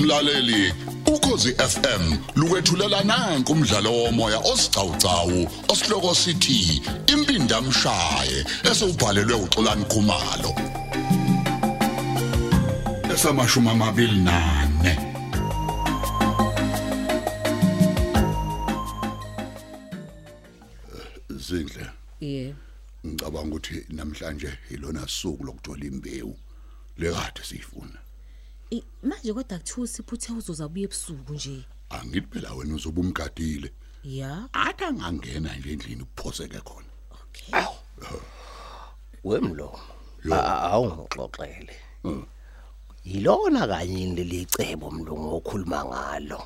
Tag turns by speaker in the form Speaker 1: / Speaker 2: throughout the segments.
Speaker 1: mlaleli ukhosi FM lukwethulela nanku umdlalo womoya osiqhawqhawo osihloko sithi impinda mshaye esubhalelwe uXolani Khumalo esamashuma amabili nane zindle
Speaker 2: Yeah.
Speaker 1: ngicabanga ukuthi namhlanje ilona suku lokuthola imbewu lekade siyifuna
Speaker 2: I- Manje kodwa kuthiwa siphuthe uzoza buye ebusuku nje.
Speaker 1: angithi phela wena uzobe umgadile
Speaker 2: Yeah.
Speaker 1: athi angangena nje endlini uphoseke khona
Speaker 2: Okay.
Speaker 3: wemlomo Ah, awungixoxele yilona kanye leli cebo mlungu okhuluma ngalo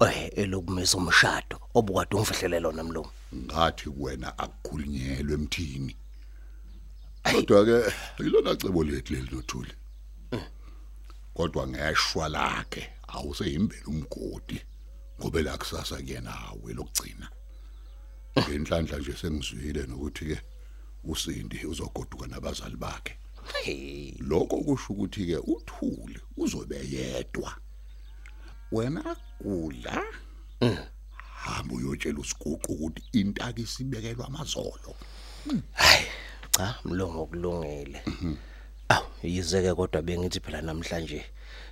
Speaker 3: eh elokumisa umshado obukade ungifihlele lona mlungu
Speaker 1: ngathi wena akukhulunyelwe emthini kodwa ke ilona cebo lethu leli nothuli kodwa ngeshwa lakhe awuseyimbele umgodi ngobe la kusasa kuyena awe lokugcina ngenhlanhla nje sengizwile nokuthi ke usindi uzogoduka nabazali bakhe
Speaker 3: Hey,
Speaker 1: lokho kusho ukuthi ke uthule uzobe yedwa wena kula hamba uyotshela usiguqu ukuthi intaka isibekelwa amazolo
Speaker 3: cha mlungu okulungile aw yizeke kodwa bengithi phela namhlanje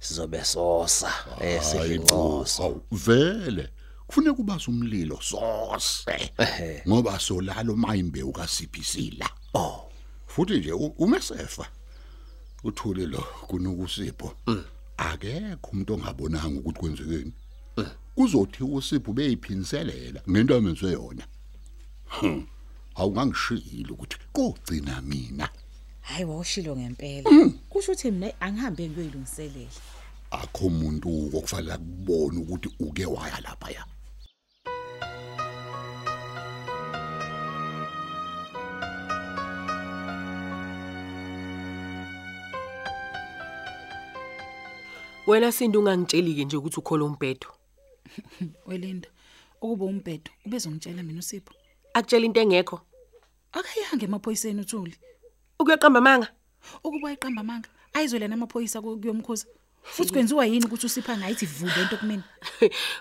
Speaker 3: sizobe sosa eh sihincoso
Speaker 1: Hawu, vele kufanele kubaza umlilo sose
Speaker 3: Ehhe.
Speaker 1: ngoba solalo mayimbe ukaCPC la
Speaker 3: oh
Speaker 1: futhi nje u- umesefa uthule lo kunokusipho akekho umuntu ongabonanga ukuthi kwenzekeni kuzothi usipho beyiphiniselela ngento amenzwe yona Hmm. awungangishilo ukuthi kogcina mina
Speaker 2: Hayi wawushilo ngempela. Kusho ukuthi mina angihambe ngiyoyilungiselela.
Speaker 1: akho umuntu okufanele kubone ukuthi uke waya lapha ya
Speaker 4: wena sinto ungangitsheli-ke nje ukuthi ukhole umbhedo
Speaker 5: welinda ukuba umbhedo ubezongitshela mina usipho
Speaker 4: akutshela into engekho
Speaker 5: akayihange emaphoyiseni uthuli
Speaker 4: ukuyoqamba amanga
Speaker 5: ukuba iqamba amanga ayizwele namaphoyisa ku- kuyomkhuza futhi kwenziwa yini ukuthi usipho angayithi vule into kumina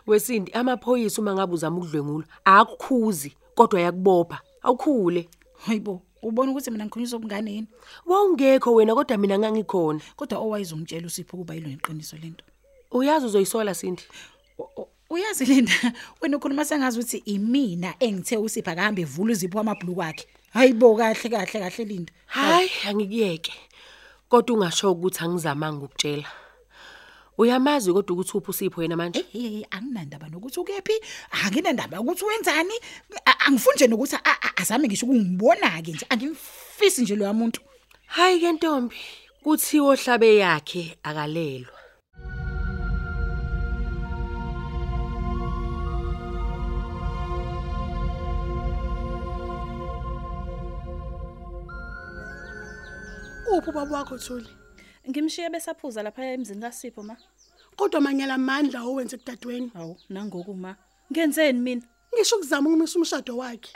Speaker 4: wesindi amaphoyisa uma ngabe uzama ukudlwengula akukhuzi kodwa yakubopha awukhule
Speaker 5: hayibo ubona ukuthi mina ngikhunyiswa obungane yini
Speaker 4: wawungekho wena kodwa mina ngangikhona
Speaker 5: kodwa owayezongitshela usipho ukuba yilo iqiniso lento
Speaker 4: uyazi uzoyisola sindi
Speaker 5: U- u- uyazi linda wena ukhuluma sengazi ukuthi imina engithe usipho akahambe evula uzipho amabhuluku akhe hayibo kahle kahle kahle linda
Speaker 4: hayi angikuyeke kodwa ungasho ukuthi angizamanga ukutshela uyamazi kodwa ukuthi uphi usipho yena manje
Speaker 5: hey anginandaba nokuthi ukephi anginandaba ukuthi wenzani A- angifuni nje nokuthi a- a- azame ngisho ukungibona ke nje angimfisi nje loya muntu
Speaker 4: hayi ke ntombi kuthiwo hlabe yakhe akalelwa
Speaker 6: uphi ubaba wakho thuli
Speaker 7: ngimshiye besaphuza laphaya emzini kasipho ma
Speaker 6: kodwa manyala mandla owenze kudadweni
Speaker 7: hawu nangoku ma ngenzeni mina
Speaker 6: ngisho ukuzama ukumisa umshado wakhe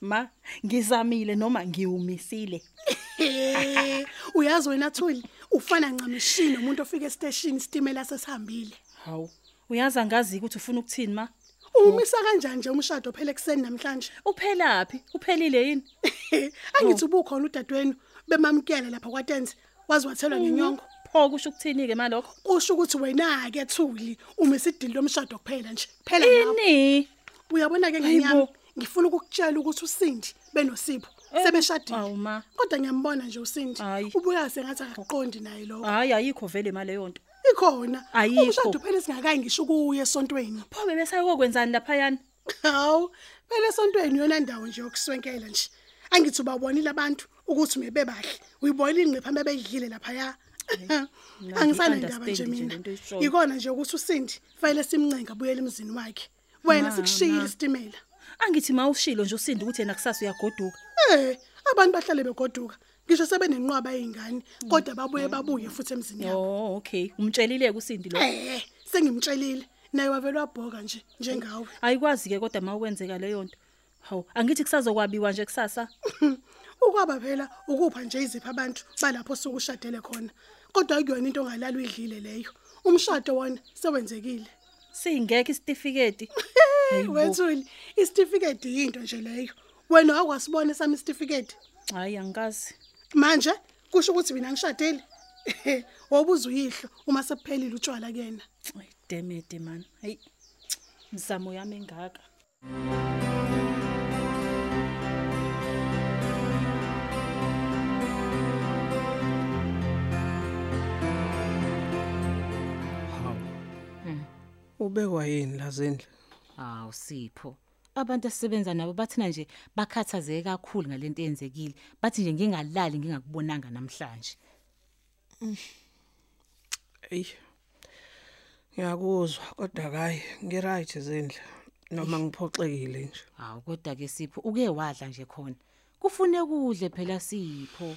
Speaker 7: ma ngizamile noma ngiwumisile
Speaker 6: Eh, uyazi wena thuli ufana ncamishini umuntu ofika esiteshini isitimela sesihambile
Speaker 7: hawu uyazi angazi ukuthi ufuna ukuthini ma
Speaker 6: umisa kanjani nje umshado phela ekuseni namhlanje
Speaker 7: uphelaphi uphelile yini
Speaker 6: angithi ubukhona udadweni bemamkela lapha kwatenze wazi wathelwa
Speaker 7: Mm-hmm.
Speaker 6: ngenyongo
Speaker 7: pho kusho ukuthini-ke malokho
Speaker 6: kusho ukuthi wena-ke thuli umisa idili lomshado kuphela nje phela lapho
Speaker 7: ini
Speaker 6: uyabona-ke
Speaker 7: Hayibo.
Speaker 6: nganyami ngifuna ukukutshela ukuthi usindi benosipho
Speaker 7: Eh, awu
Speaker 6: sebeshadile
Speaker 7: ma
Speaker 6: kodwa ngiyambona nje usindi
Speaker 7: Hhayi.
Speaker 6: ubuya sengathi akaqondi naye lokho
Speaker 7: hhayi ayikho vele ma leyo nto
Speaker 6: ikhona
Speaker 7: Ayikho.
Speaker 6: umshado phela singakayi ngisho ukuya esontweni
Speaker 7: pho bebesayokokwenzani laphayani
Speaker 6: hawu phela esontweni yona ndawo nje yokuswenkela nje angithi ubabonile abantu ukuthi mebe bahle uyibonile ingqe phambi abeyidlile laphaya angisanandaba nje
Speaker 7: ngiyi-understand nje
Speaker 6: mina
Speaker 7: lento oyishoyo.
Speaker 6: yikona nje ukuthi usindi fanele simncenga abuyele emzini wakhe wena sikushiyile isitimela
Speaker 7: angithi ma ushilo nje usinde ukuthi yena kusasa uyagoduka
Speaker 6: Eh, abantu bahlale begoduka. Ngisho sebenenqwaba yezingane, kodwa babuye babuye futhi
Speaker 7: Mm.
Speaker 6: emzini yabo.
Speaker 7: o Oh, okay umtshelile-ke usindi lo
Speaker 6: Eh, sengimtshelile. Naye wavelwa bhoka nje njengawe.
Speaker 7: ayikwazi-ke kodwa ma ukwenzeka leyo nto hawu angithi kusazokwabiwa nje kusasa
Speaker 6: Ukwaba phela ukupha nje izipho abantu balapho sokushadele khona. Kodwa akuyona into ongalala uyidlile leyo.
Speaker 8: umshado wona sewenzekile
Speaker 9: singekho isitifiketi
Speaker 8: wethuli isitifiketi yinto nje leyo wena wakwasibona sami isitifiketi
Speaker 9: hayi angikazi
Speaker 8: manje kusho ukuthi mina ngishadile wobuza uyihlo uma sephelile utshwala kuyena
Speaker 9: Ayi, damn it man hayi mzamo yami engaka
Speaker 6: ubekwa yini lazindla
Speaker 2: Hawu Sipho. Abantu asebenza nabo bathina nje bakhathazeke kakhulu ngalento eyenzekile. Bathi nje ngingalali ngingakubonanga namhlanje.
Speaker 6: eyi ngiyakuzwa kodwa kayi ngi-right zindla noma ngiphoxekile nje
Speaker 2: Hawu kodwa ke Sipho uke wadla nje khona. Kufune kudle phela Sipho.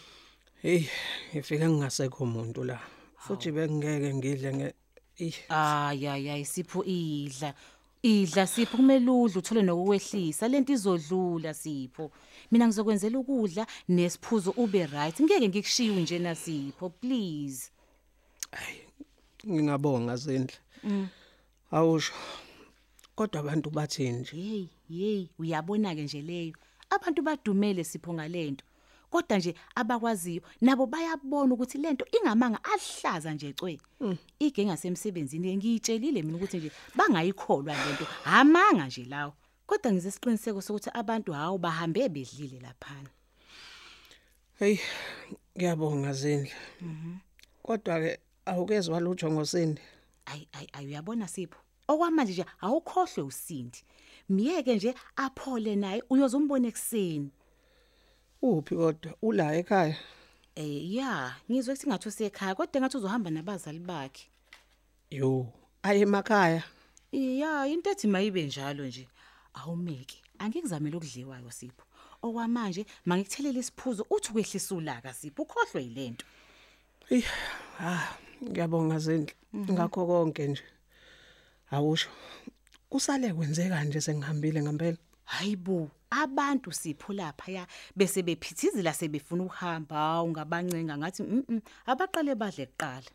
Speaker 6: heyi ngifike ngingasekho muntu la futhi bengingeke ngidle nge eyi
Speaker 2: Ay ay ay Sipho idla. Idla Sipho kumele udle uthole nokwehlisa lento izodlula Sipho. Mina ngizokwenzela ukudla nesiphuzo ube right. Ngeke ngikushiwe nje na Sipho please.
Speaker 6: ngingabonga zindla awusho kodwa abantu bathini nje
Speaker 2: hey hey uyabona ke nje leyo abantu badumele sipho ngalento kodwa nje abakwaziyo nabo bayabona ukuthi lento ingamanga ahlaza nje cwe igenga semsebenzini ngiyitshelile mina ukuthi nje bangayikholwa lento amanga nje lawo kodwa ngize siqiniseke sokuthi abantu hawo bahambe bedlile laphana
Speaker 6: heyi ngiyabonga zindla kodwa-ke awukeze walutsho ngosindi
Speaker 2: ayi ayi ayi uyabona sipho okwamanje nje awukhohlwe usindi miyeke nje aphole naye uyozombona ekuseni
Speaker 6: uphi kodwa ula ekhaya
Speaker 2: Eh ya, ngizwe ukuthi ngathi usekhaya kodwa ngathi uzohamba nabazali bakhe.
Speaker 6: yo aye emakhaya
Speaker 2: Iya, into ethi mayibe njalo nje. Awumeki. Angikuzamela ukudliwayo Sipho. Okwamanje mangikuthelela isiphuzo uthi ukwehlisa ulaka Sipho ukhohlwe yilento.
Speaker 6: eyi ha ngiyabonga zindla ngakho konke nje awusho kusale kwenzeka nje sengihambile ngempela
Speaker 2: Hayibo, abantu Sipho lapha ya bese bephithizila sebefuna ukuhamba, hawu ngabancenga ngathi mhm, abaqale badle kuqala.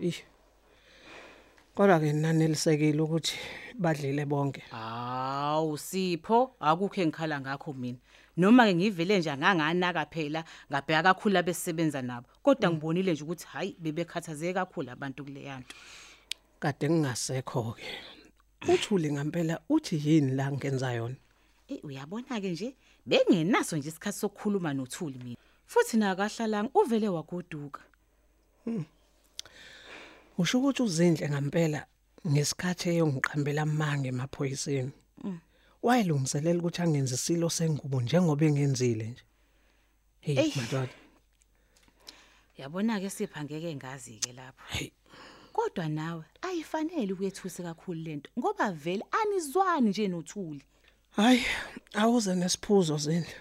Speaker 6: eyi kodwa-ke nanelisekile ukuthi badlile bonke
Speaker 2: Hawu Sipho, akukho engikhala ngakho mina. Noma ke ngivele nje anganganaka phela, ngabheka kakhulu abesebenza nabo. Kodwa ngibonile nje ukuthi hayi bebekhathazeke kakhulu abantu kuleyanto.
Speaker 6: kade ngingasekho-ke uthuli ngempela uthi yini la ngenza yona
Speaker 2: Eh uyabona ke nje, bengenaso nje isikhathi sokukhuluma noThuli mina. Futhi nakahlalanga uvele wagoduka.
Speaker 6: usho ukuthi uzindle ngempela ngesikhathi eyongiqambela amange emaphoyiseni wayelungiselela ukuthi angenze isilo sengubo njengoba engenzile nje heyi
Speaker 2: Eyi.
Speaker 6: madoda
Speaker 2: Yabona ke Sipha ngeke ngazi ke lapho.
Speaker 6: heyi
Speaker 2: Kodwa nawe ayifanele ukuyethusa kakhulu lento ngoba vele anizwani nje noThuli.
Speaker 6: hhayi awuze nesiphuzo zindle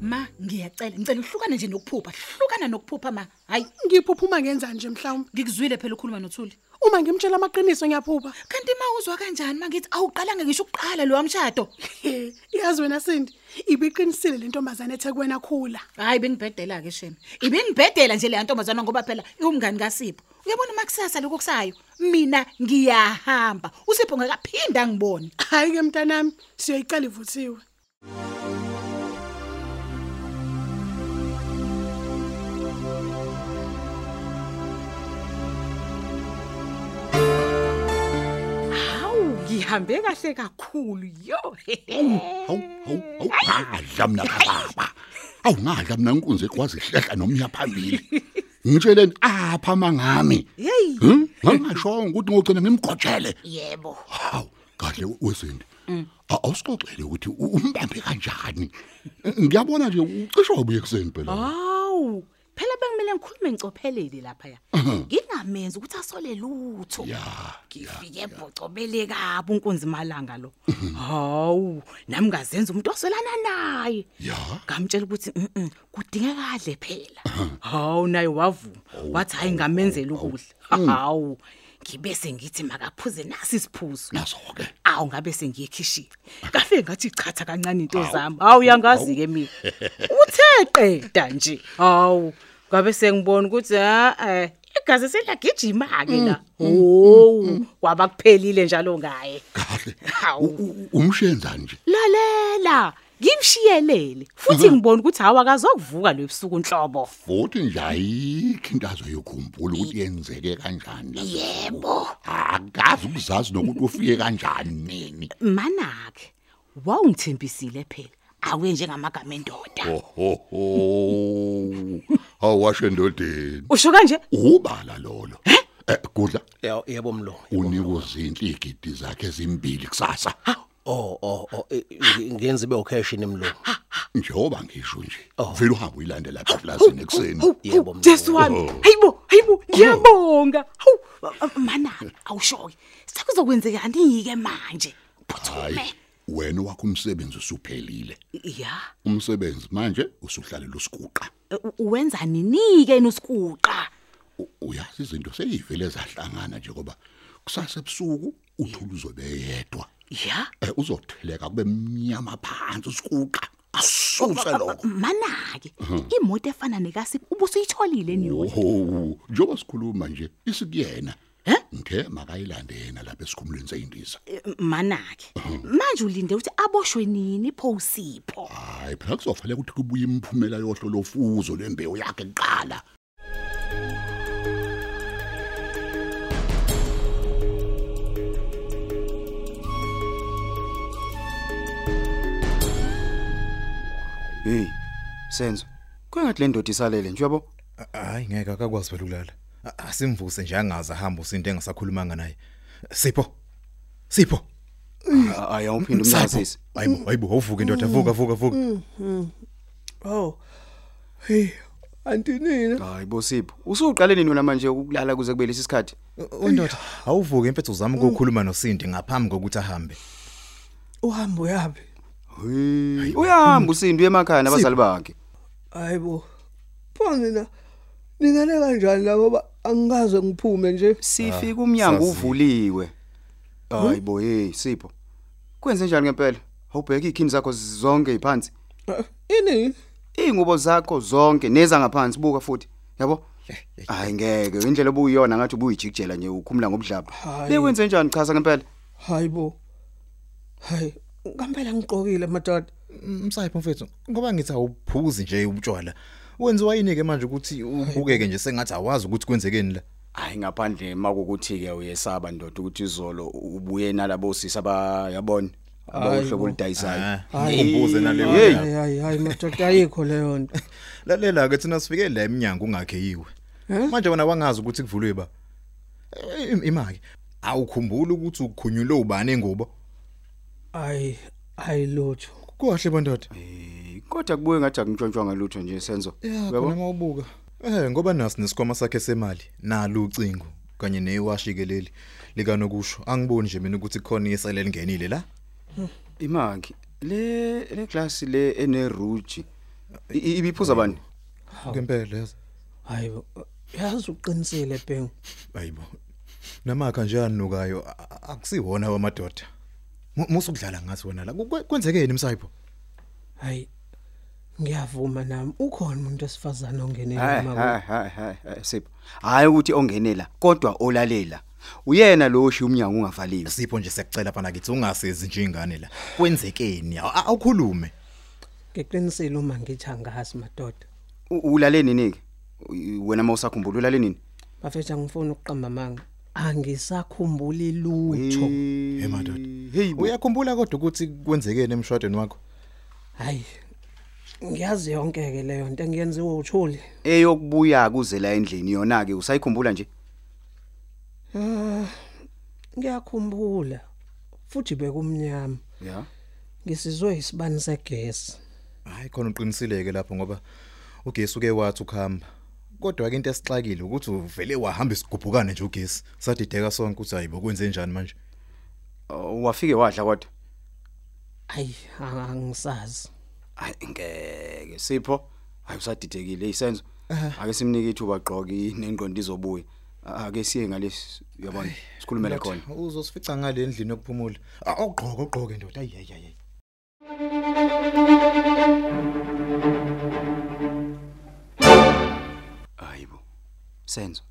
Speaker 5: ma ngiyacela ngicela uhlukane nje nokuphupha hlukana nokuphupha ma hayi
Speaker 8: ngiphuphuma ngenzani nje mhlawumbe
Speaker 9: ngikuzwile phela ukhuluma nothuli
Speaker 8: uma ngimtshela amaqiniso ngiyaphupha
Speaker 5: kanti ma uzwa kanjani ma ngithi awuqalanga ngisho ukuqala lowa mshado
Speaker 8: He, iyazi wena sindi ibiqinisile le ntombazane ethe kuwena khula
Speaker 5: hayi bengibhedela ke shema ibengibhedela nje leya ntombazana ngoba phela iwumngani kaSipho uyabona uma kusasa lokho kusayo mina ngiyahamba uSipho ngakaphinda ngibone
Speaker 8: hhayi ke mntanami siyoyicala ivuthiwe
Speaker 2: Hawu, ngihambe kahle kakhulu. Yo.
Speaker 1: Hawu, hawu, hawu, adla mina kababa. Awu ngadla mina inkunzi ekwazi ihlehla nomya phambili. Ngitsheleni apha mangami. Hm?
Speaker 2: Hey.
Speaker 1: Ngingashonga ukuthi ngogcina ngimgqotshele.
Speaker 2: Yebo.
Speaker 1: Hawu, kahle wesindi. Awusixoxele ukuthi u- umbambe kanjani. Ngiyabona nje ucishe wabuye ekseni
Speaker 2: Oh.
Speaker 1: phela.
Speaker 2: Hawu, phela bekumele ngikhulume ngicophelele lapha ya. Ngingamenza ukuthi asole lutho.
Speaker 1: Ya, Mhm.
Speaker 2: Ngifike ebhocobele kabi unkunzi malanga lo. Hawu, nami ngazenza umuntu oselana naye.
Speaker 1: Ya.
Speaker 2: Ngamtshela ukuthi mhm, kudingeka
Speaker 1: Mhm. Mm.
Speaker 2: kadle phela. Hawu naye wavuma. Wathi hayi ngamenzela ukudla. Hawu. ngibe sengithi makaphuze nasi siphuzo
Speaker 1: naso ke
Speaker 2: awu ngabe sengiyikhishile kafe ngathi chatha kancane into zami awu yangazi ke mina uthe qeda nje awu ngabe sengibona ukuthi ha eh igazi selagijima ke la oh kwaba kuphelile njalo ngaye
Speaker 1: kahle
Speaker 2: Hawu.
Speaker 1: U- u- umshenza nje
Speaker 2: lalela ngimshiyelele futhi ngibona ukuthi awakazokuvuka lebusuku inhlobo
Speaker 1: futhi nje ayikho into azoyikhumbula ukuthi yenzeke kanjani lapho.
Speaker 2: yebo
Speaker 1: akazi ukuzazi nokuthi ufike kanjani nini
Speaker 2: manake wawungithembisile phela awe njengamagama endoda
Speaker 1: ohoho awashendodeni
Speaker 2: usho kanje
Speaker 1: ubala lolo eh kudla
Speaker 3: Yebo, yebo mlungu.
Speaker 1: unika uzinhle igidi zakhe ezimbili kusasa
Speaker 3: Oh, oh, oh, eh, ngi- ngenza ibe occasion mlungu.
Speaker 1: njengoba ngisho nje vele uhambe uyilandela lapha eplazini
Speaker 2: Oh,
Speaker 1: ekuseni
Speaker 3: Yebo, mlungu.
Speaker 2: Jesu wami hayibo hayibo ngiyabonga hawu manake awushoki sekuzokwenzekani ke
Speaker 1: hayi
Speaker 2: manje phuthume
Speaker 1: wena wakho umsebenzi usuphelile
Speaker 2: ya
Speaker 1: umsebenzi manje usuhlalela usiguqa
Speaker 2: u- uwenza nini ke nosikuqa
Speaker 1: U- uyazi izinto seyivele ezahlangana nje ngoba kusasa ebusuku uthula uzobe yedwa
Speaker 2: ya
Speaker 1: Eh, uzotheleka kube mnyama phansi usiguqa asuse lokho
Speaker 2: manake imoto efana nekasi ubusuyitholile niyo
Speaker 1: oho njengoba sikhuluma nje isikuyena ngithe makayilande yena lapha esikhumulweni seyindiza
Speaker 2: manake manje ulinde ukuthi aboshwe nini pho usipho
Speaker 1: hayi phela kuzofanele ukuthi kubuye imiphumela yohlolo fuzo lembewu yakhe kuqala
Speaker 7: hey senzo kwengathi le ndoda isalele nje uyabo
Speaker 10: Hayi ngeke akakwazi vele ukulala. A- Asimvuse nje angaza hamba usinto engasakhulumanga naye. Sipho. Sipho.
Speaker 7: hayi awuphinde
Speaker 10: Sipho.
Speaker 7: umnazise
Speaker 10: Hayibo, hayibo, awuvuke ndoda, vuka, vuka, vuka.
Speaker 6: Mm, Oh. Hey, antinina.
Speaker 7: hayi bosipho usuqale nini wena manje ukulala kuze kube lesi sikhathi
Speaker 10: Undoda, awuvuke impethu uzama ukukhuluma noSindi ngaphambi kokuthi ahambe.
Speaker 6: Uhambo yapi?
Speaker 7: Hey, uyahamba usindi uyemakhaya nabazali bakhe
Speaker 6: Hayibo. Phonina. Ningale kanjani la ngoba angikaze ngiphume nje.
Speaker 7: sifika umnyango
Speaker 10: sazi.
Speaker 7: uvuliwe hayi bo hey sipho kwenze njani ngempela awubheka ikhini zakho zonke iphansi
Speaker 6: Eh, Ini?
Speaker 7: ingubo zakho zonke neza ngaphansi buka futhi yabo
Speaker 10: Eh,
Speaker 7: hayi ngeke indlela obuyiyona ngathi ubuyijikijela nje ukhumula ngobudlapha
Speaker 6: Hhayi.
Speaker 7: bekwenze njani chaza ngempela
Speaker 6: Hayibo. Hayi, ngempela ngigqokile madodana.
Speaker 10: Msayipho mfethu, ngoba ngithi awuphuzi nje ubutshwala. Wenziwa yini ke manje ukuthi ubukeke nje sengathi awazi ukuthi kwenzekeni la?
Speaker 7: hayi ngaphandle makukuthi ke uyesaba ndoda ukuthi izolo ubuye nalabo sisi abayabona abawohlobo oludayisayo
Speaker 10: Hayi, umbuze naleyo.
Speaker 7: Hey.
Speaker 10: ndaba.
Speaker 6: Hayi hayi hayi madodana ayikho leyo nto.
Speaker 10: Lalela ke thina sifike la eminyango ungakheyiwe. Manje wena wangazi ukuthi kuvulwe ba. Eh, im- Imaki. Awukhumbula ukuthi ukukhunyulwe ubani engubo?
Speaker 6: Hayi ayilutho.
Speaker 10: Kuhle bandoda.
Speaker 7: kodwa kubuye ngathi akuntshontshwanga lutho nje senzo
Speaker 10: Yeah,
Speaker 7: Uyabo?
Speaker 10: khona mawubuka. Eh, ngoba nasi nesikhoma sakhe semali, nalo ucingo kanye newashi ke leli lika nokusho. Angiboni nje mina ukuthi khona isele lingenile la.
Speaker 7: imaki le le class le eneruji ibiphuza bani
Speaker 10: Ngempela yazi.
Speaker 6: Hayibo. Yazi uqinisile Bengu.
Speaker 10: Hayibo. Namakha nje anukayo a- a- akusiwona wamadoda. Mu- Musa ukudlala ngathi wena la. Kwe- Kwenzekeni msayipho?
Speaker 6: Hayi. Ngiyavuma nami ukhona umuntu esifazana ongenela
Speaker 7: hayi
Speaker 6: mama.
Speaker 7: hayi hayi hayi sipho hayi ukuthi ongenela kodwa olalela uyena lo oshiya umnyango ungavaliwe
Speaker 10: Sipho nje siyacela bana kithi ungasezi nje ingane la. Kwenzekeni? Aw- Awukhulume.
Speaker 6: Ngiqinisile uma ngithi angazi madodana.
Speaker 7: U- ulale nini ke U- wena mawusakhumbula ulale nini
Speaker 6: Bafethu angifuni ukuqamba amanga. Angisakhumbuli lutho.
Speaker 7: Hmm.
Speaker 10: Hey madoda.
Speaker 7: hey bo.
Speaker 10: Uyakhumbula kodwa ukuthi kwenzekeni emshadweni wakho?
Speaker 6: Hayi. Ngiyazi yonke ke leyo nto engiyenziwe uthuli.
Speaker 7: eyokubuya kuze la endlini yona ke usayikhumbula nje
Speaker 6: Ngiyakhumbula. Futhi bekumnyama.
Speaker 7: ya
Speaker 6: Ngisizwe isibani segesi.
Speaker 10: Hayi khona uqinisileke lapho ngoba ugesi uke wathi ukuhamba. Kodwa ke into esixakile ukuthi uvele wahamba isigubhukane nje ugesi. Sadideka sonke ukuthi hayibo kwenze njani manje?
Speaker 7: Oh, wafike wadla kodwa
Speaker 6: Hayi angisazi.
Speaker 7: hayi ngeke sipho hayi usadidekile isenzo ake simnike ithuba gqoki nengqondo izobuya ake siye ngalesi uyabona sikhulumele khona
Speaker 10: uzosifica ngale ndlini yokuphumula awugqoke ugqoke ndoda ayiyayiyayi
Speaker 7: hayibo senzo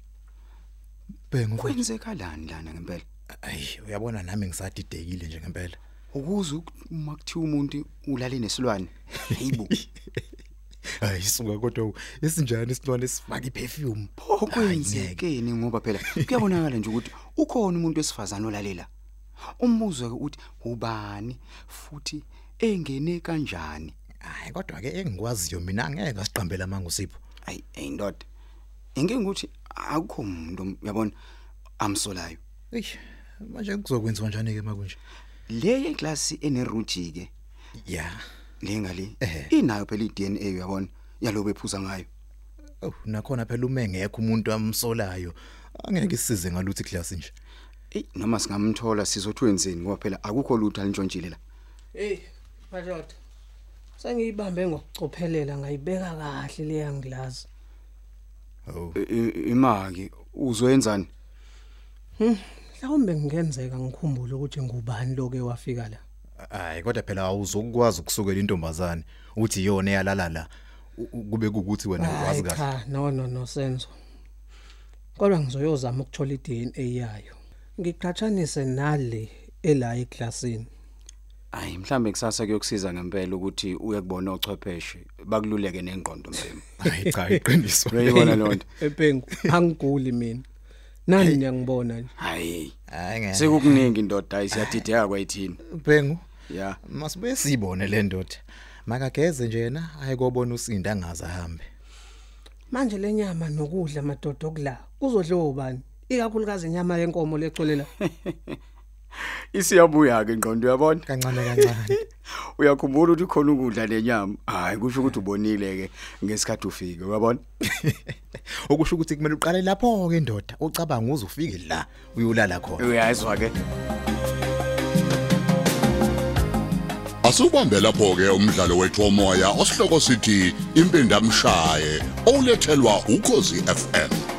Speaker 10: bhengu
Speaker 7: kwenzekalani lana ngempela
Speaker 10: ayi uyabona nami ngisadidekile nje ngempela
Speaker 7: ukuze uma kuthiwa umuntu ulale nesilwane hayibo
Speaker 10: hayi suka kodwa esinjani isilwane esifaka iperfume
Speaker 7: okwenzekeni ngoba phela kuyabonakala nje ukuthi ukhona umuntu wesifazane olalela umbuzo ke uthi ubani futhi engene kanjani
Speaker 10: hayi kodwa ke engikwaziyo mina angeke ngasiqambela manga usipho
Speaker 7: ayi ayindoda inkingi ukuthi akukho umuntu uyabona amsolayo
Speaker 10: eish manje kuzokwenziwa njani ke makunje
Speaker 7: le class eneruji ke
Speaker 10: ya
Speaker 7: lengale inayo phela iDNA uyabona yalobe ephuza ngayo
Speaker 10: oh nakhona phela uma engekho umuntu amsolayo angeke isize ngaluthi class nje
Speaker 7: Ey noma singamthola sizothwenzeni ngoba phela akukho lutho alintshontshile la
Speaker 6: Hey, madoda. Sengiyibambe ngokucophelela ngayibeka kahle leya nglass.
Speaker 10: oh
Speaker 7: I- i- imaki uzoyenzani
Speaker 6: Hm, mhlawumbe ngenzeka ngikhumbule ukuthi ngubani lo ke wafika la.
Speaker 10: hayi kodwa phela awuzokwazi ukusukela intombazane uthi iyona eyalala la u- u- kube ukuthi wena ukwazi
Speaker 6: Hayi
Speaker 10: kahle
Speaker 6: cha, no no no senzo. Kodwa ngizoyozama ukuthola iDNA yayo. Ngiqhathanise nale ela eclassini.
Speaker 7: Hayi mhlambe kusasa kuyokusiza ngempela ukuthi uyekubona ochwepheshe bakululeke nengqondo mfemo.
Speaker 10: hayi cha iqiniso
Speaker 7: Uyayibona loo nto.
Speaker 6: Epengu, angiguli mina. Nani ngiyangibona nje.
Speaker 7: Hayi.
Speaker 10: hayi ngeke
Speaker 7: Sekukuningi indoda ayisiyadideka kwayithini.
Speaker 10: bhengu
Speaker 7: Ya.
Speaker 10: masibuye sibone le ndoda makageze nje yena ayikobona usinda angaza hambe
Speaker 6: Manje lenyama nokudla madodo kula. Kuzodliwa ubani? Ikakhulukazi inyama yenkomo lecolela.
Speaker 7: Isiyabuya ke ingqondo uyabona?
Speaker 10: kancane kancane
Speaker 7: Uyakhumbula ukuthi khona ukudla lenyama. Hayi kusho ukuthi ubonile ke ngesikhathi ufike uyabona?
Speaker 10: okusho ukuthi kumele uqale lapho ke ndoda ucabanga uze ufike la uyolala khona
Speaker 7: Uyayizwa ke.
Speaker 1: Asubambe lapho ke umdlalo wethu womoya osihloko sithi impindamshaye olethelwa ukozi FM